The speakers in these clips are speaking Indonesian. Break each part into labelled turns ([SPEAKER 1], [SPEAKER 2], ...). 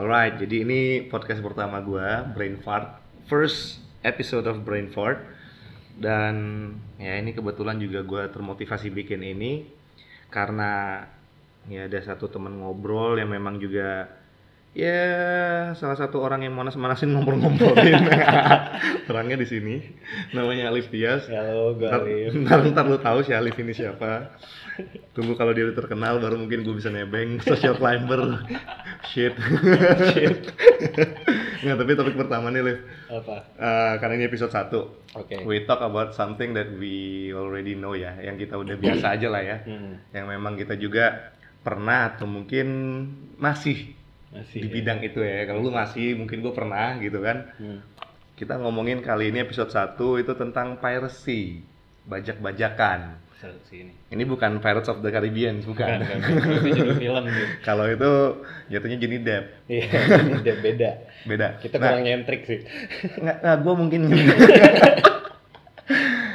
[SPEAKER 1] Alright, jadi ini podcast pertama gua, Brain Fart. First episode of Brain Fart. Dan ya ini kebetulan juga gua termotivasi bikin ini karena ya ada satu temen ngobrol yang memang juga ya salah satu orang yang manas-manasin ngobrol-ngobrolin. Orangnya di sini namanya Alif Dias.
[SPEAKER 2] Halo, gue
[SPEAKER 1] Ntar,
[SPEAKER 2] Alif.
[SPEAKER 1] ntar, ntar lu tahu si Alif ini siapa. Tunggu kalau dia udah terkenal baru mungkin gue bisa nebeng social climber. Shit. Shit. Nggak, tapi topik pertama nih, Liv.
[SPEAKER 2] Apa?
[SPEAKER 1] Eh, karena ini episode 1.
[SPEAKER 2] Oke.
[SPEAKER 1] We talk about something that we already know ya, yang kita udah biasa aja lah ya.
[SPEAKER 2] Hmm,
[SPEAKER 1] Yang memang kita juga pernah atau mungkin masih
[SPEAKER 2] masih.
[SPEAKER 1] di
[SPEAKER 2] ya.
[SPEAKER 1] bidang itu ya. Kalau lu masih, mungkin gue pernah gitu kan
[SPEAKER 2] Hmm.
[SPEAKER 1] kita ngomongin kali ini episode 1 itu tentang piracy, bajak-bajakan.
[SPEAKER 2] Seru sih ini.
[SPEAKER 1] Ini bukan Pirates of the Caribbean,
[SPEAKER 2] Bukan,
[SPEAKER 1] bukan.
[SPEAKER 2] bukan. Itu judul film gitu.
[SPEAKER 1] Kalau itu jatuhnya Johnny Depp,
[SPEAKER 2] Iya, udah beda.
[SPEAKER 1] beda.
[SPEAKER 2] Kita
[SPEAKER 1] nah,
[SPEAKER 2] kurang nyentrik sih.
[SPEAKER 1] nggak, nggak, gua mungkin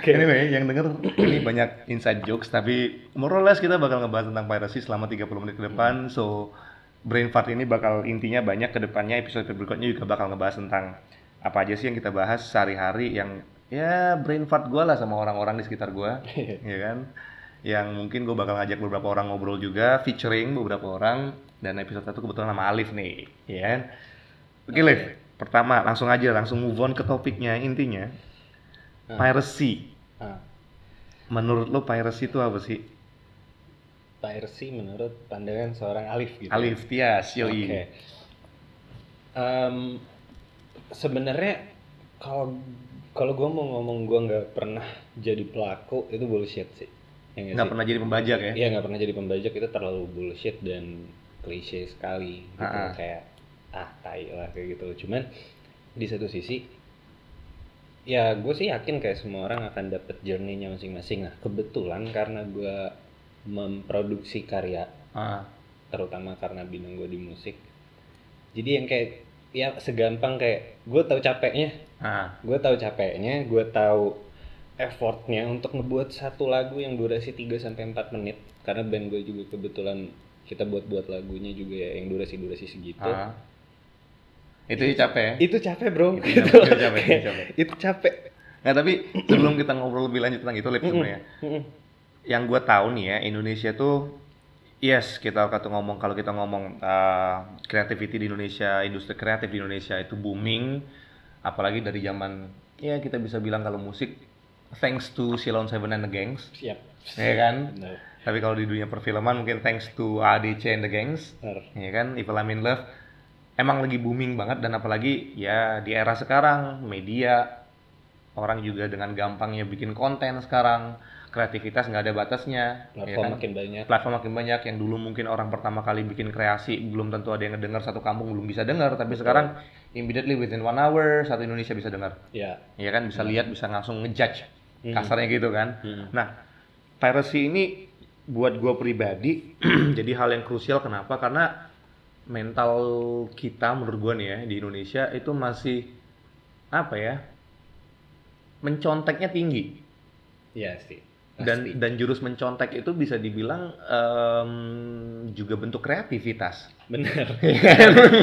[SPEAKER 2] Oke.
[SPEAKER 1] Anyway, yang denger ini banyak inside jokes tapi more or less kita bakal ngebahas tentang piracy selama 30 menit ke depan. So Brain Fart ini bakal intinya banyak ke depannya episode berikutnya juga bakal ngebahas tentang apa aja sih yang kita bahas sehari-hari yang ya brain fart gua lah sama orang-orang di sekitar gua. ya kan yang mungkin gue bakal ngajak beberapa orang ngobrol juga featuring beberapa orang dan episode satu kebetulan sama Alif nih ya kan oke Alif pertama langsung aja langsung move on ke topiknya intinya
[SPEAKER 2] Hmm.
[SPEAKER 1] piracy
[SPEAKER 2] Ah,
[SPEAKER 1] menurut lo piracy itu apa sih
[SPEAKER 2] piracy menurut pandangan seorang Alif gitu.
[SPEAKER 1] Alif Tias
[SPEAKER 2] Oke.
[SPEAKER 1] yoi
[SPEAKER 2] Em, Sebenarnya kalau kalau gue mau ngomong gue nggak pernah jadi pelaku itu bullshit sih. Ya nggak
[SPEAKER 1] nggak
[SPEAKER 2] sih?
[SPEAKER 1] pernah jadi pembajak ya
[SPEAKER 2] Iya nggak pernah jadi pembajak itu terlalu bullshit dan klise sekali gitu
[SPEAKER 1] Ah, ah.
[SPEAKER 2] kayak ah tai lah kayak gitu cuman di satu sisi ya gue sih yakin kayak semua orang akan dapet journey-nya masing-masing nah kebetulan karena gue memproduksi karya
[SPEAKER 1] Ah,
[SPEAKER 2] terutama karena bidang gue di musik jadi yang kayak ya segampang kayak gue tahu capeknya
[SPEAKER 1] ah.
[SPEAKER 2] gue tahu capeknya gue tahu effortnya untuk ngebuat satu lagu yang durasi 3 sampai 4 menit karena band gue juga kebetulan kita buat-buat lagunya juga ya yang durasi-durasi segitu
[SPEAKER 1] Ah. itu sih capek ya
[SPEAKER 2] itu capek bro
[SPEAKER 1] Itu
[SPEAKER 2] Gitu.
[SPEAKER 1] capek, itu capek, itu capek.
[SPEAKER 2] itu capek
[SPEAKER 1] Nah, tapi sebelum kita ngobrol lebih lanjut tentang itu, Lip, sebenarnya
[SPEAKER 2] Mm-mm.
[SPEAKER 1] yang gue tahu nih ya Indonesia tuh yes kita kata ngomong kalau kita ngomong uh, creativity di Indonesia industri kreatif di Indonesia itu booming apalagi dari zaman ya kita bisa bilang kalau musik thanks to Silon Seven and the Gangs
[SPEAKER 2] siap
[SPEAKER 1] ya kan
[SPEAKER 2] Benar.
[SPEAKER 1] tapi kalau di dunia perfilman mungkin thanks to ADC and the Gangs
[SPEAKER 2] Benar.
[SPEAKER 1] ya kan Evil I'm in Love emang lagi booming banget dan apalagi ya di era sekarang media orang juga dengan gampangnya bikin konten sekarang kreativitas nggak ada batasnya ya
[SPEAKER 2] platform
[SPEAKER 1] kan?
[SPEAKER 2] makin banyak
[SPEAKER 1] platform makin banyak yang dulu mungkin orang pertama kali bikin kreasi belum tentu ada yang ngedengar satu kampung belum bisa dengar tapi sekarang immediately within one hour satu Indonesia bisa dengar
[SPEAKER 2] ya
[SPEAKER 1] ya kan bisa lihat bisa langsung ngejudge
[SPEAKER 2] Hmm.
[SPEAKER 1] kasarnya gitu kan
[SPEAKER 2] Hmm.
[SPEAKER 1] nah piracy ini buat gua pribadi jadi hal yang krusial kenapa karena mental kita menurut gua nih ya di Indonesia itu masih apa ya menconteknya tinggi
[SPEAKER 2] ya sih
[SPEAKER 1] dan
[SPEAKER 2] Pasti.
[SPEAKER 1] dan jurus mencontek itu bisa dibilang em, juga bentuk kreativitas
[SPEAKER 2] benar
[SPEAKER 1] gitu,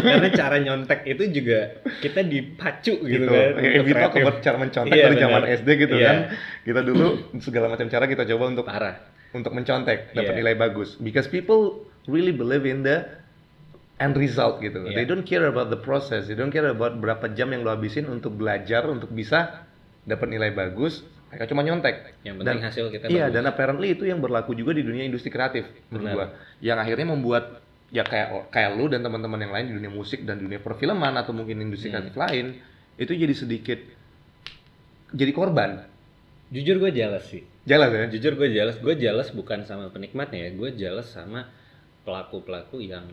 [SPEAKER 2] karena cara nyontek itu juga kita dipacu gitu, kan
[SPEAKER 1] Ya,
[SPEAKER 2] untuk
[SPEAKER 1] kita
[SPEAKER 2] kreatif.
[SPEAKER 1] kebuat cara mencontek
[SPEAKER 2] Iya,
[SPEAKER 1] dari zaman
[SPEAKER 2] benar.
[SPEAKER 1] SD gitu
[SPEAKER 2] Iya.
[SPEAKER 1] kan kita dulu segala macam cara kita coba untuk
[SPEAKER 2] parah
[SPEAKER 1] untuk mencontek dapat
[SPEAKER 2] Iya.
[SPEAKER 1] nilai bagus because people really believe in the end result gitu
[SPEAKER 2] Iya.
[SPEAKER 1] they don't care about the process they don't care about berapa jam yang lo habisin untuk belajar untuk bisa dapat nilai bagus mereka cuma nyontek
[SPEAKER 2] yang
[SPEAKER 1] Dan-
[SPEAKER 2] penting hasil kita
[SPEAKER 1] Iya,
[SPEAKER 2] bagus.
[SPEAKER 1] dan apparently itu yang berlaku juga di dunia industri kreatif menurut
[SPEAKER 2] Benar.
[SPEAKER 1] gua. Yang akhirnya membuat ya kayak kayak lu dan teman-teman yang lain di dunia musik dan dunia perfilman atau mungkin industri
[SPEAKER 2] Hmm.
[SPEAKER 1] kreatif lain itu jadi sedikit jadi korban.
[SPEAKER 2] jujur gue jelas sih
[SPEAKER 1] Jelas ya?
[SPEAKER 2] Nah, jujur gue jelas gue jelas bukan sama penikmatnya ya gue jelas sama pelaku pelaku yang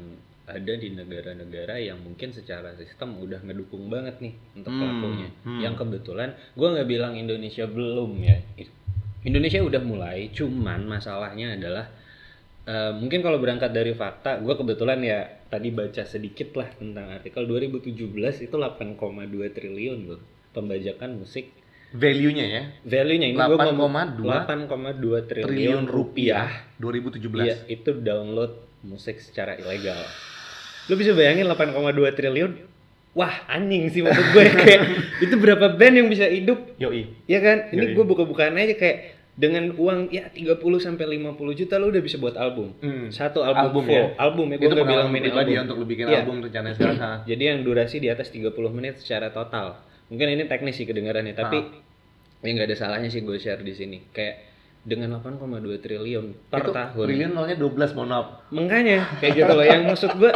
[SPEAKER 2] ada di negara-negara yang mungkin secara sistem udah ngedukung banget nih untuk
[SPEAKER 1] Hmm,
[SPEAKER 2] pelakunya
[SPEAKER 1] hmm.
[SPEAKER 2] yang kebetulan gue nggak bilang Indonesia belum ya Indonesia udah mulai cuman masalahnya adalah eh, mungkin kalau berangkat dari fakta gue kebetulan ya tadi baca sedikit lah tentang artikel 2017 itu 8,2 triliun loh pembajakan musik
[SPEAKER 1] Value-nya ya
[SPEAKER 2] value-nya ini gua ngomong-
[SPEAKER 1] 8,2
[SPEAKER 2] 8,2
[SPEAKER 1] triliun
[SPEAKER 2] triliun
[SPEAKER 1] rupiah
[SPEAKER 2] rupiah,
[SPEAKER 1] 2017.
[SPEAKER 2] Iya, itu download musik secara ilegal. Lu bisa bayangin 8,2 triliun? Wah, anjing sih maksud gue kayak itu berapa band yang bisa hidup?
[SPEAKER 1] Yoi.
[SPEAKER 2] Ya kan? Ini
[SPEAKER 1] Yoi.
[SPEAKER 2] gue buka-bukaan aja kayak dengan uang ya 30 sampai 50 juta lu udah bisa buat album.
[SPEAKER 1] Hmm.
[SPEAKER 2] Satu album,
[SPEAKER 1] Album
[SPEAKER 2] full.
[SPEAKER 1] ya?
[SPEAKER 2] Album ya, gue
[SPEAKER 1] itu
[SPEAKER 2] nggak bilang
[SPEAKER 1] pengalaman
[SPEAKER 2] mini
[SPEAKER 1] pribadi ya
[SPEAKER 2] album.
[SPEAKER 1] untuk lu bikin
[SPEAKER 2] Iya.
[SPEAKER 1] album rencananya sekarang. ha.
[SPEAKER 2] Jadi yang durasi di atas 30 menit secara total. Mungkin ini teknis sih kedengarannya, tapi
[SPEAKER 1] Ah.
[SPEAKER 2] ya nggak ada salahnya sih gue share di sini. Kayak dengan 8,2 triliun per
[SPEAKER 1] itu
[SPEAKER 2] tahun.
[SPEAKER 1] triliun nolnya 12 mohon maaf.
[SPEAKER 2] Makanya kayak gitu loh. Yang maksud gue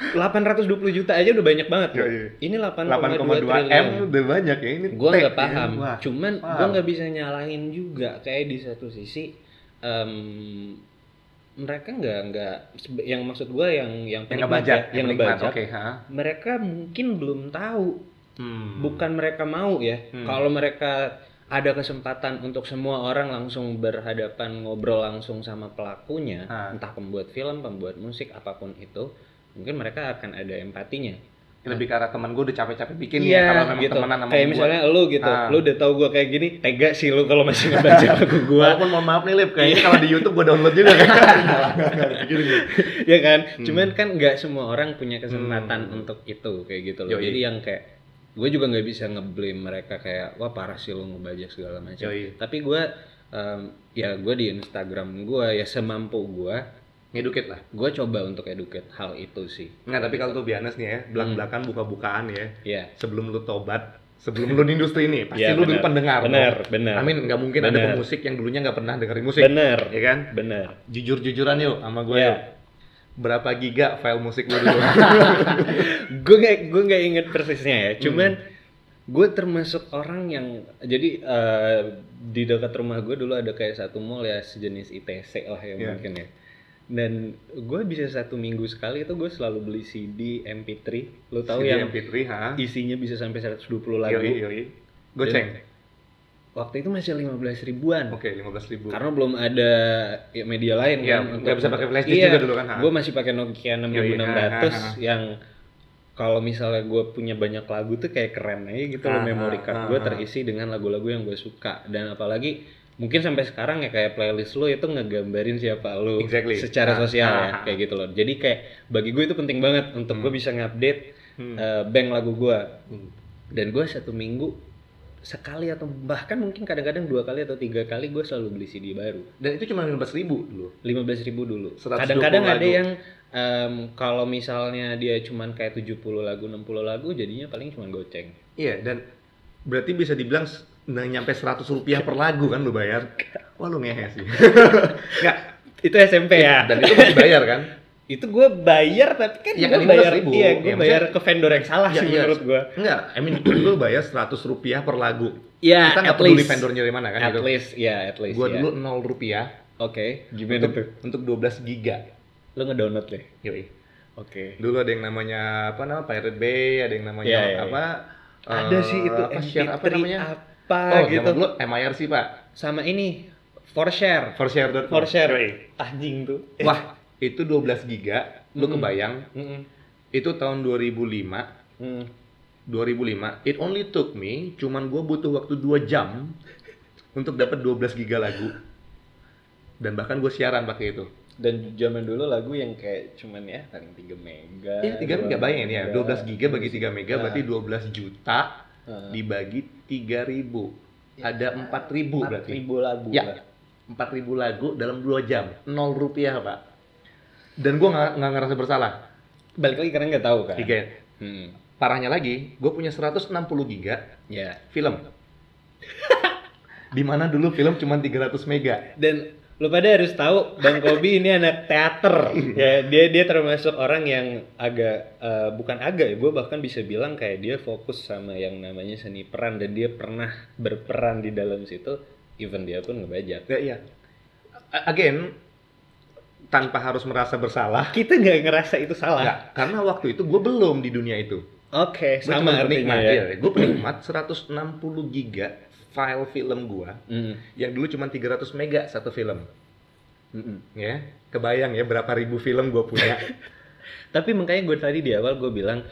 [SPEAKER 2] 820 juta aja udah banyak banget.
[SPEAKER 1] Iya, iya.
[SPEAKER 2] Ini
[SPEAKER 1] 8,2
[SPEAKER 2] 8,2
[SPEAKER 1] M
[SPEAKER 2] triliun.
[SPEAKER 1] udah banyak ya ini.
[SPEAKER 2] Gue
[SPEAKER 1] tag
[SPEAKER 2] nggak
[SPEAKER 1] ya.
[SPEAKER 2] paham.
[SPEAKER 1] Wah.
[SPEAKER 2] Cuman gue
[SPEAKER 1] paham.
[SPEAKER 2] nggak bisa nyalahin juga. Kayak di satu sisi em, mereka nggak nggak sebe- yang maksud gue yang
[SPEAKER 1] yang
[SPEAKER 2] yang penikmat ya,
[SPEAKER 1] ngebajak,
[SPEAKER 2] yang
[SPEAKER 1] penikmat.
[SPEAKER 2] ngebajak.
[SPEAKER 1] Oke, ha.
[SPEAKER 2] Mereka mungkin belum tahu.
[SPEAKER 1] Hmm.
[SPEAKER 2] Bukan mereka mau ya.
[SPEAKER 1] Hmm.
[SPEAKER 2] Kalau mereka ada kesempatan untuk semua orang langsung berhadapan ngobrol langsung sama pelakunya,
[SPEAKER 1] Ah.
[SPEAKER 2] entah pembuat film, pembuat musik, apapun itu, mungkin mereka akan ada empatinya.
[SPEAKER 1] lebih ke arah teman gue udah capek-capek bikin
[SPEAKER 2] Iya,
[SPEAKER 1] ya kalau memang
[SPEAKER 2] gitu.
[SPEAKER 1] temenan sama
[SPEAKER 2] Kayak
[SPEAKER 1] gua.
[SPEAKER 2] misalnya lu gitu,
[SPEAKER 1] Ah.
[SPEAKER 2] lu udah tau gua kayak gini, tega sih lu kalau masih ngebaca lagu gua,
[SPEAKER 1] Walaupun mohon maaf nih Lip, kayaknya kalau di YouTube gue download juga kan. Gitu, gitu.
[SPEAKER 2] ya kan?
[SPEAKER 1] Hmm.
[SPEAKER 2] Cuman kan nggak semua orang punya kesempatan
[SPEAKER 1] Hmm.
[SPEAKER 2] untuk itu kayak gitu loh.
[SPEAKER 1] Yoi.
[SPEAKER 2] Jadi yang kayak gue juga nggak bisa ngeblame mereka kayak wah parah sih lu ngebajak segala macam.
[SPEAKER 1] Yoi.
[SPEAKER 2] Tapi gue ya gue di Instagram gue ya semampu gue
[SPEAKER 1] Ngedukit lah.
[SPEAKER 2] gue coba untuk educate hal itu sih
[SPEAKER 1] Nah, tapi kalau tuh biasa nih ya, belak-belakan buka-bukaan ya.
[SPEAKER 2] ya
[SPEAKER 1] Sebelum lu tobat, sebelum lu di industri ini, pasti
[SPEAKER 2] Iya,
[SPEAKER 1] lu dulu
[SPEAKER 2] benar.
[SPEAKER 1] pendengar.
[SPEAKER 2] benar benar
[SPEAKER 1] Amin, nggak mungkin ada
[SPEAKER 2] Benar.
[SPEAKER 1] pemusik yang dulunya nggak pernah dengerin musik.
[SPEAKER 2] benar
[SPEAKER 1] Ya kan?
[SPEAKER 2] benar
[SPEAKER 1] Jujur-jujuran yuk sama gue.
[SPEAKER 2] Iya.
[SPEAKER 1] yuk. Berapa giga file musik lu dulu?
[SPEAKER 2] gue nggak gue nggak inget persisnya ya cuman gue termasuk orang yang jadi eh, di dekat rumah gue dulu ada kayak satu mall ya sejenis ITC lah ya
[SPEAKER 1] Iya.
[SPEAKER 2] mungkin ya dan gue bisa satu minggu sekali itu gue selalu beli CD MP3 lo tahu
[SPEAKER 1] CD
[SPEAKER 2] yang
[SPEAKER 1] MP3, ha?
[SPEAKER 2] isinya bisa sampai 120 lagu
[SPEAKER 1] Yoi, yoi. Goceng.
[SPEAKER 2] waktu itu masih 15 ribuan
[SPEAKER 1] Oke, 15 ribu.
[SPEAKER 2] karena belum ada ya, media lain
[SPEAKER 1] Iya,
[SPEAKER 2] kan untuk-
[SPEAKER 1] nggak bisa pakai flash disk
[SPEAKER 2] Iya,
[SPEAKER 1] juga dulu kan, ha?
[SPEAKER 2] gue masih pakai Nokia
[SPEAKER 1] Iya,
[SPEAKER 2] 6600
[SPEAKER 1] iya, ha, ha, ha.
[SPEAKER 2] yang kalau misalnya gue punya banyak lagu tuh kayak keren aja gitu
[SPEAKER 1] Ha,
[SPEAKER 2] loh
[SPEAKER 1] ha,
[SPEAKER 2] memory card
[SPEAKER 1] ha,
[SPEAKER 2] gue
[SPEAKER 1] ha.
[SPEAKER 2] terisi dengan lagu-lagu yang gue suka dan apalagi mungkin sampai sekarang ya kayak playlist lo itu ngegambarin siapa lo
[SPEAKER 1] Exactly. Ha,
[SPEAKER 2] secara sosial
[SPEAKER 1] ha,
[SPEAKER 2] ya
[SPEAKER 1] ha.
[SPEAKER 2] kayak gitu loh jadi kayak bagi gue itu penting banget untuk gue bisa ngupdate
[SPEAKER 1] Hmm.
[SPEAKER 2] eh, bank lagu gue
[SPEAKER 1] Hmm.
[SPEAKER 2] dan gue satu minggu sekali atau bahkan mungkin kadang-kadang dua kali atau tiga kali gue selalu beli CD baru
[SPEAKER 1] Dan itu cuma 15 ribu dulu.
[SPEAKER 2] 15.000 dulu
[SPEAKER 1] 120
[SPEAKER 2] kadang-kadang ada
[SPEAKER 1] lagu.
[SPEAKER 2] yang em, kalau misalnya dia cuman kayak 70 lagu 60 lagu jadinya paling cuman goceng
[SPEAKER 1] Iya, dan berarti bisa dibilang s- nah, nyampe 100 rupiah per lagu kan lu bayar. Wah lu ngehe sih. Nggak,
[SPEAKER 2] itu SMP ya
[SPEAKER 1] dan itu masih bayar kan?
[SPEAKER 2] itu gue bayar tapi kan
[SPEAKER 1] Iya, kan,
[SPEAKER 2] gue bayar
[SPEAKER 1] 15.000.
[SPEAKER 2] iya gue
[SPEAKER 1] Ya,
[SPEAKER 2] bayar ke vendor yang salah
[SPEAKER 1] Iya,
[SPEAKER 2] sih
[SPEAKER 1] iya.
[SPEAKER 2] menurut gue
[SPEAKER 1] Enggak, I mean lu bayar 100 rupiah per lagu.
[SPEAKER 2] ya
[SPEAKER 1] Kita nggak
[SPEAKER 2] at
[SPEAKER 1] peduli
[SPEAKER 2] least
[SPEAKER 1] vendornya dari mana kan
[SPEAKER 2] at
[SPEAKER 1] gitu.
[SPEAKER 2] least ya at least
[SPEAKER 1] Gua
[SPEAKER 2] ya.
[SPEAKER 1] dulu 0 rupiah
[SPEAKER 2] oke gimana tuh
[SPEAKER 1] untuk, untuk 12 giga.
[SPEAKER 2] lo ngedownload deh
[SPEAKER 1] Yoi.
[SPEAKER 2] oke
[SPEAKER 1] Dulu ada yang namanya apa nama Pirate Bay, ada yang namanya
[SPEAKER 2] Iya, iya, iya.
[SPEAKER 1] apa?
[SPEAKER 2] ada
[SPEAKER 1] eh,
[SPEAKER 2] sih itu
[SPEAKER 1] apa, share apa
[SPEAKER 2] MP3
[SPEAKER 1] namanya?
[SPEAKER 2] apa
[SPEAKER 1] oh,
[SPEAKER 2] gitu
[SPEAKER 1] zaman dulu MIRC, Pak.
[SPEAKER 2] sama ini for share
[SPEAKER 1] For share.
[SPEAKER 2] for share anjing tuh
[SPEAKER 1] Wah, itu 12 giga, lu
[SPEAKER 2] Mm-mm.
[SPEAKER 1] kebayang
[SPEAKER 2] Mm-mm.
[SPEAKER 1] itu tahun 2005
[SPEAKER 2] Mm.
[SPEAKER 1] 2005 it only took me cuman gue butuh waktu 2 jam untuk dapat 12 giga lagu dan bahkan gue siaran pakai itu
[SPEAKER 2] dan zaman dulu lagu yang kayak cuman ya paling 3 Iya, mega
[SPEAKER 1] ya 3 mega bayangin ya 12 giga bagi 3 mega
[SPEAKER 2] Nah.
[SPEAKER 1] berarti 12 juta
[SPEAKER 2] Nah.
[SPEAKER 1] dibagi 3000 ada 4000 berarti
[SPEAKER 2] Iya. ribu lagu
[SPEAKER 1] Ya.
[SPEAKER 2] lah.
[SPEAKER 1] 4000 lagu dalam 2 jam 0 rupiah pak dan gue nggak nggak ngerasa bersalah
[SPEAKER 2] balik lagi karena nggak tahu kan
[SPEAKER 1] Tiga.
[SPEAKER 2] hmm.
[SPEAKER 1] parahnya lagi gue punya 160 giga
[SPEAKER 2] ya
[SPEAKER 1] film dimana dulu film cuma 300 mega
[SPEAKER 2] dan lu pada harus tahu Bang Kobi ini anak teater ya dia dia termasuk orang yang agak eh, bukan agak ya gue bahkan bisa bilang kayak dia fokus sama yang namanya seni peran dan dia pernah berperan di dalam situ even dia pun ngebajak
[SPEAKER 1] Ya, iya. A- Again, tanpa harus merasa bersalah.
[SPEAKER 2] kita nggak ngerasa itu
[SPEAKER 1] Nggak,
[SPEAKER 2] salah
[SPEAKER 1] karena waktu itu gue belum di dunia itu. Gua
[SPEAKER 2] oke sama
[SPEAKER 1] cuma
[SPEAKER 2] artinya
[SPEAKER 1] penikmat,
[SPEAKER 2] ya
[SPEAKER 1] iya. Gue penikmat 160 giga file film gua
[SPEAKER 2] Mm.
[SPEAKER 1] yang dulu cuma 300 mega satu film.
[SPEAKER 2] Mm-mm.
[SPEAKER 1] Ya, kebayang ya berapa ribu film gue punya.
[SPEAKER 2] Tapi makanya gue tadi di awal gue bilang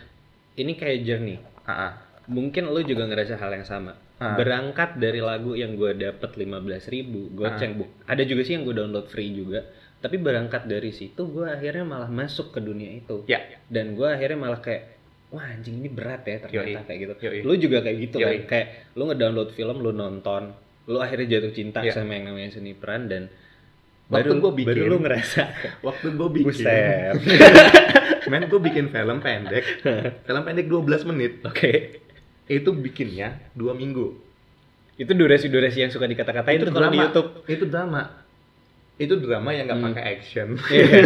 [SPEAKER 2] ini kayak journey.
[SPEAKER 1] Ah, ah.
[SPEAKER 2] Mungkin lo juga ngerasa hal yang sama.
[SPEAKER 1] Ah.
[SPEAKER 2] berangkat dari lagu yang gue dapet 15.000 ribu gue
[SPEAKER 1] Ah.
[SPEAKER 2] cek bu- ada juga sih yang gue download free juga tapi berangkat dari situ gue akhirnya malah masuk ke dunia itu
[SPEAKER 1] Ya.
[SPEAKER 2] dan gue akhirnya malah kayak wah anjing ini berat ya ternyata
[SPEAKER 1] Yoi.
[SPEAKER 2] kayak gitu
[SPEAKER 1] Yoi.
[SPEAKER 2] lu juga kayak gitu kan
[SPEAKER 1] Yoi.
[SPEAKER 2] kayak lu ngedownload film lu nonton lu akhirnya jatuh cinta
[SPEAKER 1] Iya.
[SPEAKER 2] sama yang namanya seni peran dan
[SPEAKER 1] Waktu
[SPEAKER 2] baru
[SPEAKER 1] gua bikin-
[SPEAKER 2] baru lu ngerasa
[SPEAKER 1] Waktu gue bikin,
[SPEAKER 2] buset
[SPEAKER 1] men gue bikin film pendek, film pendek 12 menit,
[SPEAKER 2] oke
[SPEAKER 1] itu bikinnya dua minggu.
[SPEAKER 2] itu durasi durasi yang suka dikata-katain
[SPEAKER 1] Itu
[SPEAKER 2] tuh kalau di
[SPEAKER 1] drama.
[SPEAKER 2] YouTube
[SPEAKER 1] Itu drama, itu drama yang nggak
[SPEAKER 2] Hmm.
[SPEAKER 1] pakai action,
[SPEAKER 2] Iya.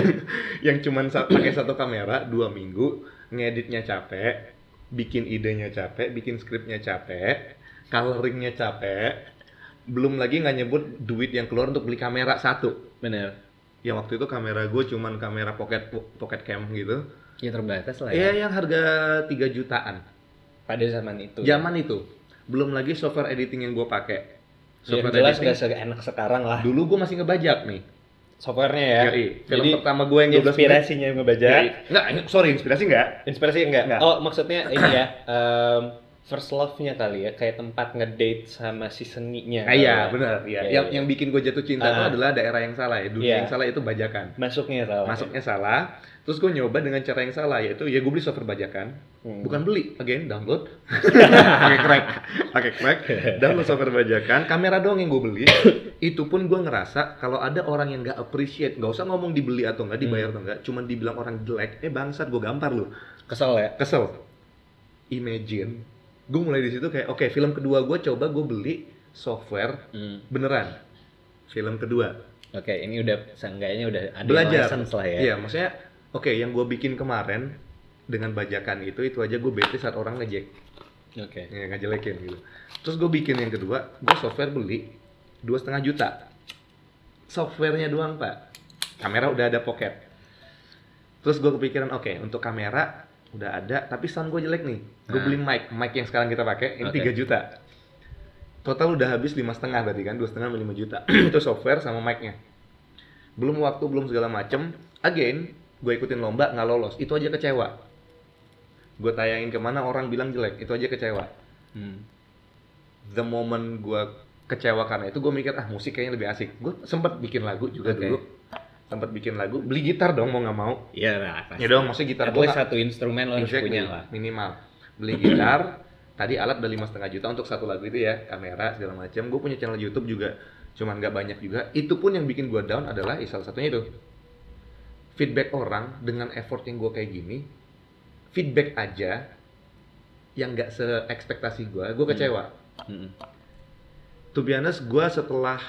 [SPEAKER 1] yang cuman sa- pakai satu kamera dua minggu, ngeditnya capek, bikin idenya capek, bikin skripnya capek, coloringnya capek, belum lagi nggak nyebut duit yang keluar untuk beli kamera satu.
[SPEAKER 2] bener
[SPEAKER 1] Yang waktu itu kamera gue cuman kamera pocket pocket cam gitu.
[SPEAKER 2] ya terbatas lah ya
[SPEAKER 1] Iya yang harga 3 jutaan.
[SPEAKER 2] pada zaman itu
[SPEAKER 1] Zaman itu. Belum lagi software editing yang gue pakai.
[SPEAKER 2] ya,
[SPEAKER 1] Software
[SPEAKER 2] jelas
[SPEAKER 1] editing.
[SPEAKER 2] nggak seenak sekarang lah
[SPEAKER 1] Dulu gue masih ngebajak nih.
[SPEAKER 2] softwarenya ya
[SPEAKER 1] Yoi. Film
[SPEAKER 2] Jadi,
[SPEAKER 1] pertama gue yang 12 menit.
[SPEAKER 2] inspirasinya
[SPEAKER 1] Yoi.
[SPEAKER 2] ngebaca
[SPEAKER 1] Nggak, iya. sorry inspirasi nggak.
[SPEAKER 2] inspirasi enggak
[SPEAKER 1] Nggak.
[SPEAKER 2] oh maksudnya ini ya em, first love-nya kali ya kayak tempat ngedate sama si seninya
[SPEAKER 1] Ah, iya
[SPEAKER 2] Kali ya.
[SPEAKER 1] benar. Iya.
[SPEAKER 2] Iya,
[SPEAKER 1] Yang
[SPEAKER 2] iya.
[SPEAKER 1] yang bikin gue jatuh cinta itu
[SPEAKER 2] Ah.
[SPEAKER 1] adalah daerah yang salah ya. Dunia
[SPEAKER 2] Iya.
[SPEAKER 1] yang salah itu bajakan.
[SPEAKER 2] masuknya salah
[SPEAKER 1] Masuknya salah. Terus gue nyoba dengan cara yang salah yaitu ya gue beli software bajakan.
[SPEAKER 2] Hmm.
[SPEAKER 1] Bukan beli, again download. pakai crack, pakai crack. Download software bajakan, kamera doang yang gue beli. itu pun gue ngerasa kalau ada orang yang nggak appreciate, nggak usah ngomong dibeli atau nggak dibayar atau nggak, cuman dibilang orang jelek, eh bangsat gue gampar lu,
[SPEAKER 2] kesel ya
[SPEAKER 1] kesel. Imagine, gue mulai di situ kayak, oke film kedua gue coba gue beli software
[SPEAKER 2] Hmm.
[SPEAKER 1] beneran, film kedua.
[SPEAKER 2] oke ini udah seenggaknya udah ada
[SPEAKER 1] Belajar.
[SPEAKER 2] lessons lah ya
[SPEAKER 1] Iya, maksudnya, oke yang gue bikin kemarin dengan bajakan itu itu aja gue bete saat orang ngejek.
[SPEAKER 2] oke
[SPEAKER 1] ya ngejelekin gitu terus gue bikin yang kedua gue software beli dua setengah juta softwarenya doang pak kamera udah ada pocket terus gue kepikiran oke untuk kamera udah ada tapi sound gue jelek nih gue
[SPEAKER 2] Nah.
[SPEAKER 1] beli mic mic yang sekarang kita pakai ini
[SPEAKER 2] Oke.
[SPEAKER 1] 3 juta total udah habis lima setengah berarti kan dua setengah sama lima juta itu software sama mic-nya belum waktu belum segala macem again gue ikutin lomba nggak lolos itu aja kecewa gue tayangin kemana orang bilang jelek itu aja kecewa
[SPEAKER 2] Hmm.
[SPEAKER 1] the moment gue kecewa karena itu gue mikir ah musik kayaknya lebih asik gue sempet bikin lagu juga
[SPEAKER 2] Oke.
[SPEAKER 1] dulu sempet bikin lagu beli gitar dong mau nggak mau
[SPEAKER 2] Iya lah. pasti.
[SPEAKER 1] ya dong maksudnya gitar
[SPEAKER 2] At
[SPEAKER 1] gue
[SPEAKER 2] least satu instrumen lo harus punya lah.
[SPEAKER 1] minimal beli gitar tadi alat udah lima setengah juta untuk satu lagu itu ya kamera segala macam gue punya channel YouTube juga cuman nggak banyak juga itu pun yang bikin gue down adalah ya, salah satunya itu feedback orang dengan effort yang gue kayak gini feedback aja yang nggak se ekspektasi gue gue
[SPEAKER 2] Hmm.
[SPEAKER 1] kecewa
[SPEAKER 2] Mm-mm.
[SPEAKER 1] to be honest, gue setelah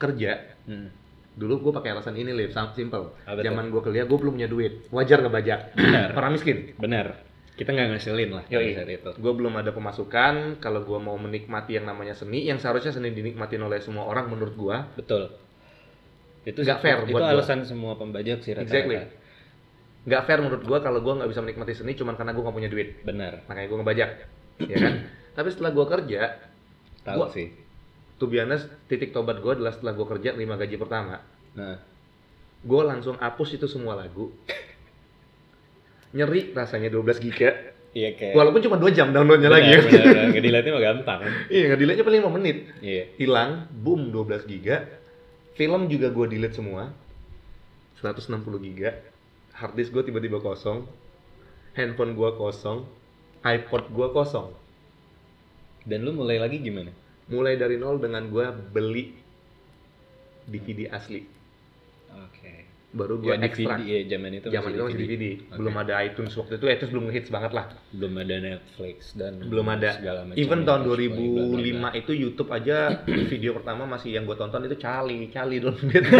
[SPEAKER 1] kerja
[SPEAKER 2] Mm.
[SPEAKER 1] dulu gue pakai alasan ini live simple
[SPEAKER 2] Apa tuh?
[SPEAKER 1] zaman gue kuliah gue belum punya duit wajar ngebajak
[SPEAKER 2] Benar.
[SPEAKER 1] orang miskin
[SPEAKER 2] Benar. Kita nggak ngasilin lah
[SPEAKER 1] Yoi.
[SPEAKER 2] dari saat itu.
[SPEAKER 1] gue belum ada pemasukan kalau gue mau menikmati yang namanya seni yang seharusnya seni dinikmatin oleh semua orang menurut gue
[SPEAKER 2] Betul. Itu
[SPEAKER 1] Nggak fair
[SPEAKER 2] Itu
[SPEAKER 1] buat gua.
[SPEAKER 2] alasan semua pembajak sih rata-rata.
[SPEAKER 1] Exactly. nggak fair menurut gue kalau gue nggak bisa menikmati seni cuman karena gue nggak punya duit
[SPEAKER 2] Benar.
[SPEAKER 1] makanya gue ngebajak ya kan tapi setelah gue kerja
[SPEAKER 2] Tahu
[SPEAKER 1] Gua-
[SPEAKER 2] sih.
[SPEAKER 1] to be honest, titik tobat gue adalah setelah gue kerja 5 gaji pertama
[SPEAKER 2] Nah,
[SPEAKER 1] gue langsung hapus itu semua lagu nyeri rasanya 12 giga
[SPEAKER 2] iya kayak.
[SPEAKER 1] Walaupun cuma 2 jam downloadnya lagi ya.
[SPEAKER 2] Gak dilihatnya mah gampang.
[SPEAKER 1] Iya, nggak delete-nya paling 5 menit.
[SPEAKER 2] Iya.
[SPEAKER 1] Hilang, boom 12 giga. Film juga gua delete semua. 160 giga. Hard disk gua tiba-tiba kosong. Handphone gua kosong. iPod gua kosong.
[SPEAKER 2] Dan lu mulai lagi gimana?
[SPEAKER 1] Mulai dari nol dengan gua beli DVD asli.
[SPEAKER 2] Oke.
[SPEAKER 1] Baru gua
[SPEAKER 2] Ya, DVD
[SPEAKER 1] ekstrak.
[SPEAKER 2] ya zaman itu
[SPEAKER 1] Zaman itu masih
[SPEAKER 2] DVD.
[SPEAKER 1] DVD.
[SPEAKER 2] Oke.
[SPEAKER 1] Belum ada iTunes waktu itu. iTunes belum hits banget lah.
[SPEAKER 2] Belum ada Netflix dan
[SPEAKER 1] Belum ada.
[SPEAKER 2] segala macam.
[SPEAKER 1] Even
[SPEAKER 2] yang
[SPEAKER 1] tahun
[SPEAKER 2] harus bla, bla, bla.
[SPEAKER 1] 2005 itu YouTube aja video pertama masih yang gue tonton itu Cali, Cali don't beat me,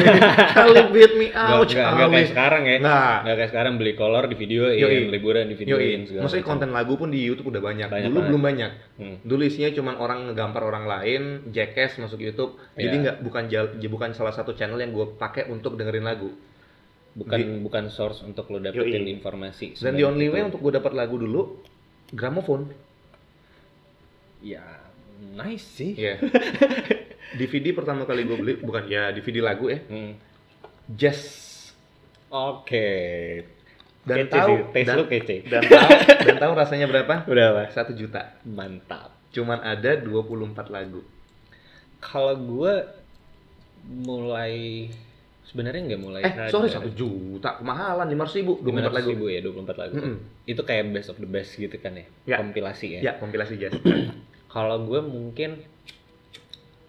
[SPEAKER 1] Cali beat me out,
[SPEAKER 2] Nggak- nggak- nggak kayak
[SPEAKER 1] Cali.
[SPEAKER 2] sekarang ya.
[SPEAKER 1] Nah,
[SPEAKER 2] Nggak kayak sekarang beli kolor di videoin,
[SPEAKER 1] Yoi.
[SPEAKER 2] liburan di videoin
[SPEAKER 1] yoi.
[SPEAKER 2] segala
[SPEAKER 1] Maksudnya
[SPEAKER 2] macam.
[SPEAKER 1] konten lagu pun di YouTube udah banyak.
[SPEAKER 2] Banyak
[SPEAKER 1] Dulu
[SPEAKER 2] banget.
[SPEAKER 1] belum banyak.
[SPEAKER 2] Hmm.
[SPEAKER 1] Dulu isinya cuman orang ngegampar orang lain, jackass masuk YouTube. Jadi
[SPEAKER 2] Iya.
[SPEAKER 1] nggak bukan jal- bukan salah satu channel yang gue pakai untuk dengerin lagu.
[SPEAKER 2] bukan bukan source untuk lo dapetin
[SPEAKER 1] Yoi.
[SPEAKER 2] informasi. gitu.
[SPEAKER 1] Dan the only way untuk gue dapat lagu dulu gramofon.
[SPEAKER 2] ya nice sih.
[SPEAKER 1] Iya. DVD pertama kali gue beli bukan ya DVD lagu ya,
[SPEAKER 2] Hmm.
[SPEAKER 1] jazz
[SPEAKER 2] Oke.
[SPEAKER 1] dan
[SPEAKER 2] Kece
[SPEAKER 1] tahu
[SPEAKER 2] sih, taste
[SPEAKER 1] dan
[SPEAKER 2] lo kece.
[SPEAKER 1] dan tahu, dan tahu rasanya berapa?
[SPEAKER 2] Udah lah,
[SPEAKER 1] Satu juta.
[SPEAKER 2] mantap.
[SPEAKER 1] Cuman ada 24 lagu.
[SPEAKER 2] Kalau gue mulai sebenarnya nggak mulai.
[SPEAKER 1] Eh, sorry satu juta kemahalan lima ratus ribu dua
[SPEAKER 2] empat
[SPEAKER 1] lagu.
[SPEAKER 2] lagu ya 24 lagu.
[SPEAKER 1] Mm-mm.
[SPEAKER 2] Itu kayak best of the best gitu kan ya,
[SPEAKER 1] Ya.
[SPEAKER 2] kompilasi ya.
[SPEAKER 1] Ya kompilasi jazz.
[SPEAKER 2] Kalau gue mungkin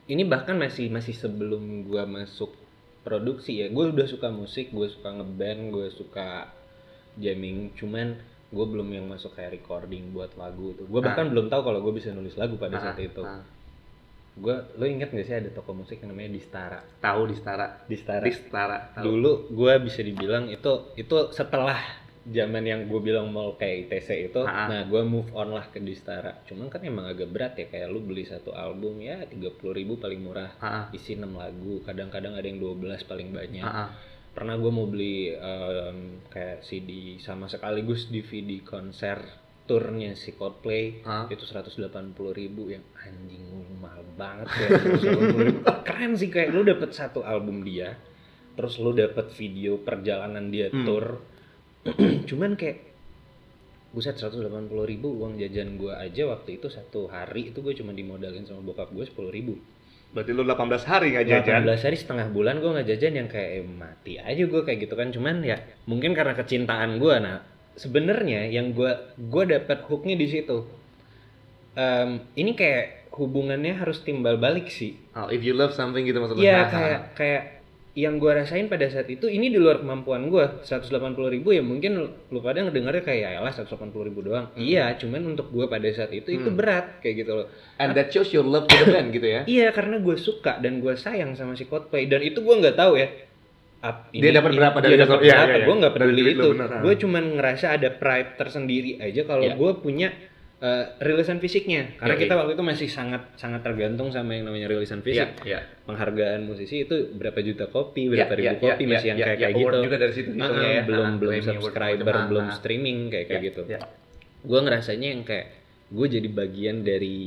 [SPEAKER 2] ini bahkan masih masih sebelum gue masuk produksi ya. Gue udah suka musik, gue suka ngeband, gue suka jamming. Cuman gue belum yang masuk kayak recording buat lagu itu. Gue bahkan belum tahu kalau gue bisa nulis lagu pada saat
[SPEAKER 1] Ah,
[SPEAKER 2] itu.
[SPEAKER 1] ah.
[SPEAKER 2] Gue lo inget gak sih ada toko musik yang namanya Distara?
[SPEAKER 1] Tahu di setara.
[SPEAKER 2] Distara.
[SPEAKER 1] Di setara. Tahu.
[SPEAKER 2] dulu gue bisa dibilang itu itu setelah zaman yang gue bilang mau kayak ITC itu
[SPEAKER 1] Ha-ha.
[SPEAKER 2] nah gue move on lah ke Distara cuman kan emang agak berat ya kayak lu beli satu album ya 30.000 ribu paling murah
[SPEAKER 1] Ah, ah,
[SPEAKER 2] isi 6 lagu kadang-kadang ada yang 12 paling banyak
[SPEAKER 1] ah, ah.
[SPEAKER 2] pernah gue mau beli em, kayak CD sama sekaligus DVD konser turnya si Coldplay
[SPEAKER 1] Ah.
[SPEAKER 2] itu 180.000 ribu yang anjing lu mahal banget ya 180.000 ribu. keren sih kayak lu dapet satu album dia terus lu dapet video perjalanan dia
[SPEAKER 1] Hmm.
[SPEAKER 2] tour cuman kayak buset 180.000 ribu uang jajan gue aja waktu itu satu hari itu gue cuma dimodalin sama bokap gue 10.000 ribu
[SPEAKER 1] Berarti lu 18 hari nggak jajan?
[SPEAKER 2] 18 hari setengah bulan gue nggak jajan yang kayak eh, mati aja gue kayak gitu kan cuman ya mungkin karena kecintaan gue nah sebenarnya yang gue gue dapat hooknya di situ Em, ini kayak hubungannya harus timbal balik sih
[SPEAKER 1] Oh, if you love something gitu maksudnya.
[SPEAKER 2] Iya kayak kayak yang gue rasain pada saat itu ini di luar kemampuan gue 180 ribu ya mungkin lu- lu pada ngedengarnya kayak ya lah 180 ribu doang iya cuman untuk gue pada saat itu itu
[SPEAKER 1] Hmm.
[SPEAKER 2] berat kayak gitu loh
[SPEAKER 1] And that shows your love to the band gitu ya.
[SPEAKER 2] Iya karena gue suka dan gue sayang sama si Coldplay dan itu gue nggak tahu ya. Ap-
[SPEAKER 1] Dia dapat berapa
[SPEAKER 2] dia
[SPEAKER 1] dari
[SPEAKER 2] dapat
[SPEAKER 1] Coldplay? Iya,
[SPEAKER 2] berapa?
[SPEAKER 1] iya, iya.
[SPEAKER 2] Gue nggak
[SPEAKER 1] Dari
[SPEAKER 2] peduli
[SPEAKER 1] duit lu
[SPEAKER 2] itu.
[SPEAKER 1] beneran.
[SPEAKER 2] Gue cuman ngerasa ada pride tersendiri aja kalau
[SPEAKER 1] Iya.
[SPEAKER 2] gue punya eh, rilisan fisiknya. Karena
[SPEAKER 1] Yoi.
[SPEAKER 2] kita waktu itu masih sangat sangat tergantung sama yang namanya rilisan fisik.
[SPEAKER 1] iya.
[SPEAKER 2] Penghargaan musisi itu berapa juta kopi, berapa
[SPEAKER 1] Iya, iya,
[SPEAKER 2] ribu kopi
[SPEAKER 1] iya,
[SPEAKER 2] masih yang
[SPEAKER 1] iya,
[SPEAKER 2] kayak
[SPEAKER 1] iya.
[SPEAKER 2] kayak
[SPEAKER 1] Award
[SPEAKER 2] gitu.
[SPEAKER 1] juga dari situ
[SPEAKER 2] Ah,
[SPEAKER 1] hitungnya ya.
[SPEAKER 2] belum
[SPEAKER 1] Ah,
[SPEAKER 2] belum
[SPEAKER 1] Grammy Award
[SPEAKER 2] subscriber,
[SPEAKER 1] macam-macam.
[SPEAKER 2] belum
[SPEAKER 1] Ah,
[SPEAKER 2] streaming kayak kayak
[SPEAKER 1] iya,
[SPEAKER 2] gitu
[SPEAKER 1] iya.
[SPEAKER 2] gue ngerasanya yang kayak gue jadi bagian dari